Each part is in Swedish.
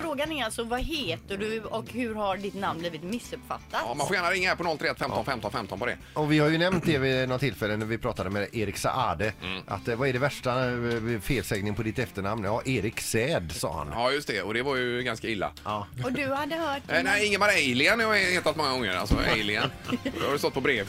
frågan är alltså vad heter du och hur har ditt namn blivit missuppfattat? Ja, man får gärna ringa här på 031 15 15 15 på det. Och vi har ju nämnt det vid något tillfälle när vi pratade med Erik Saade. Mm. Att eh, vad är det värsta eh, felsägning på ditt efternamn? Ja, Erik Säd sa han. Ja, just det. Och det var ju ganska illa. Och du hade hört Eh, Nej, Ingemar Alien har jag hetat många gånger. Alltså Alien. Då har det stått på brev.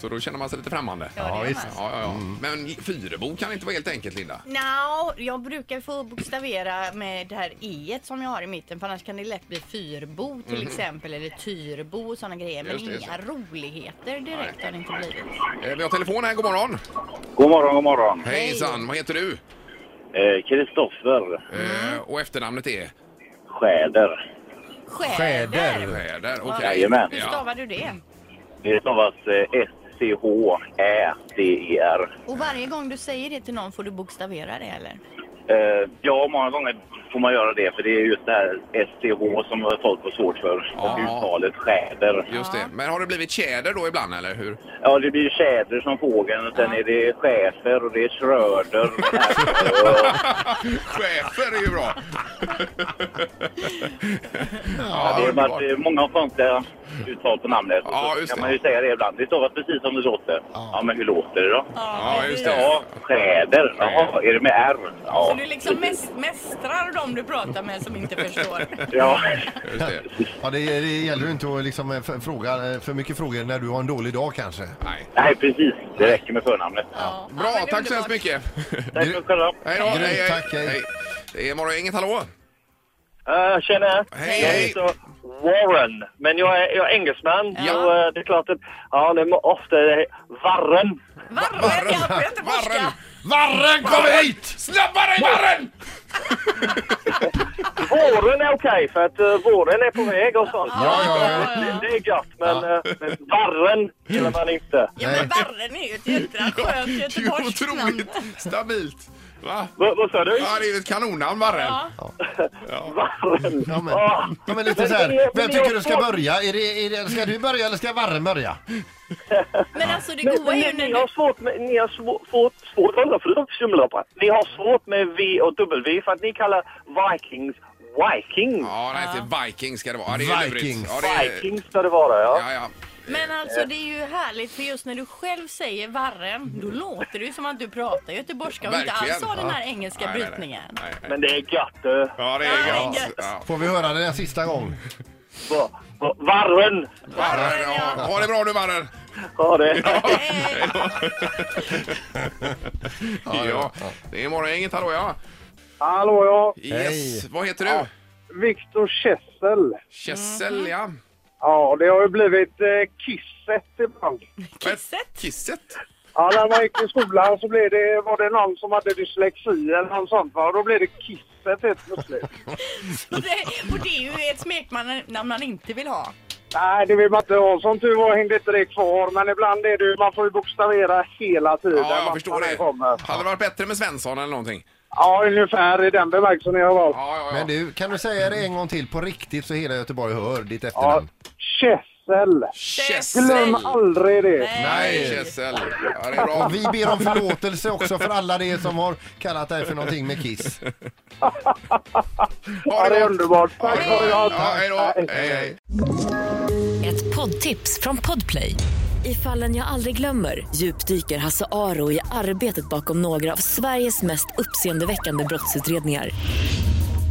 Så då känner man sig lite främmande. Ja, det Ja, gör visst. man. Ja, ja, ja. Men Fyrebo kan inte vara helt enkelt, Linda. Nja, jag brukar få bokstavera med det här e som jag har i mitten för annars kan det lätt bli fyrbo till exempel eller tyrbo och sådana grejer. Men Mhm. Just det, just inga roligheter direkt har det inte blivit. Eh, Vi har telefon här. God morgon. God morgon, god morgon. Hejsan, vad heter du? Eh, Kristoffer Eh, Och efternamnet är? Skäder. Skäder. Skäder. Okej. Jajamän. Hur stavar du det? Det stavas eh, S-C-H-Ä-D-E-R. Och varje gång du säger det till någon får du bokstavera det eller? Eh, ja, många gånger får man göra det för det är just det här STH som folk får svårt för. Ja. Och uttalet skäder. Just det. Men har det blivit tjäder då ibland, eller hur? Ja, det blir ju tjäder som fågeln och sen är det schäfer och det är schröder. och, Chefer är ju bra. ja, ja, det är bara underbart. att, eh, många har konstiga uttal på namnet. Och Ja, så just kan det. man ju säga det ibland. Det stavas precis som det låter. Ja. men hur låter det då? Ja, just det. Ja, skäder. Jaha, är det med R? Så Ja. du liksom mäst- mästrar de du pratar med som inte förstår. Ja. Just det. Ja, det, det gäller ju inte att liksom eh, f- fråga eh, för mycket frågor när du har en dålig dag kanske. Nej. Nej, precis. Det räcker med förnamnet. Ja. Bra, men tack så underbart. hemskt mycket. Tack för själva. Hej då. Grymt, tack, hej. Det är Morgongänget, hallå. Uh, tjena! Hej, jag hej. heter Warren, men jag är, jag är engelsman. Ja. Och, eh, det är klart att ja, det är ofta det är Warren. Varren, ja, på göteborgska. Varren, kom hit! Snabbare, Varren! Våren är okej, för att uh, våren är på väg och sånt. Ja, ja, ja. Det, det är gott, men, ja. men Warren gillar man inte. Ja, men varren är ju ett jädra skönt Det är ju göteborgskt namn. otroligt stabilt. Va? V- vad sa du? Ja, det är ju ett kanonnamn, Varren. Warren! Ja, men, Ah. ja, men lite Men så det här. är- men Vem det tycker är du ska svårt. börja? Är det, är det, ska du börja eller ska Varren börja? Men alltså det Men, goa är ju men, när ni du har svårt med, ni har svårt, svårt, svårt, undra, förlåt, skumloppa. Ni har svårt med V och W för att ni kallar Vikings Vikings. Ja, nej, det är Vikings ska det vara. Ja, det är ju Vikings. lurigt. Ja, det är- Vikings ska det vara, ja. Ja, ja. Men alltså det är ju härligt för just när du själv säger varren då låter det ju som att du pratar göteborgska och inte Verkligen. alls har den här engelska Nej, nej, nej. brytningen. Nej, nej. Men det är gött eh, du. Ja, det Nej, är gött. gött. Ja. Får vi höra det en sista gång? Va- va- Varren! Varren, ja. Ha det bra du, Varren. Ha det! Eh, Ja, det är Morgongänget, hallå ja. Hallå ja, Yes, vad heter du? Viktor Kessel. Kessel, ja. Ja, det har ju blivit eh, kisset ibland. Kisset? Kisset? Ja, när man gick i skolan så blev det, var det någon som hade dyslexi eller något sånt va? Och då blev det kisset helt plötsligt. Och det, och det är ju ett smeknamn man inte vill ha. Nej, det vill man inte ha. Som tur var hängde inte det kvar. Men ibland är det ju, man får ju bokstavera hela tiden. Ja, jag vart förstår man än det. Kommer. Hade det varit bättre med Svensson eller någonting? Ja, ungefär i den bemärkelsen jag har valt. Ja, ja, ja. Men du, kan du säga det en gång till på riktigt så hela Göteborg hör ditt Ja, efternamn? Kessel. Kessel! Glöm aldrig det. Nej, Kessel. Ja, det är bra. Och vi ber om förlåtelse också för alla de som har kallat dig för någonting med Kiss. Ha Ja, det är gott. underbart. Tack Ja, för ja, att Hej då. Hej, hej. Ett poddtips från Podplay. I fallen jag aldrig glömmer djupdyker Hasse Aro i arbetet bakom några av Sveriges mest uppseendeväckande brottsutredningar.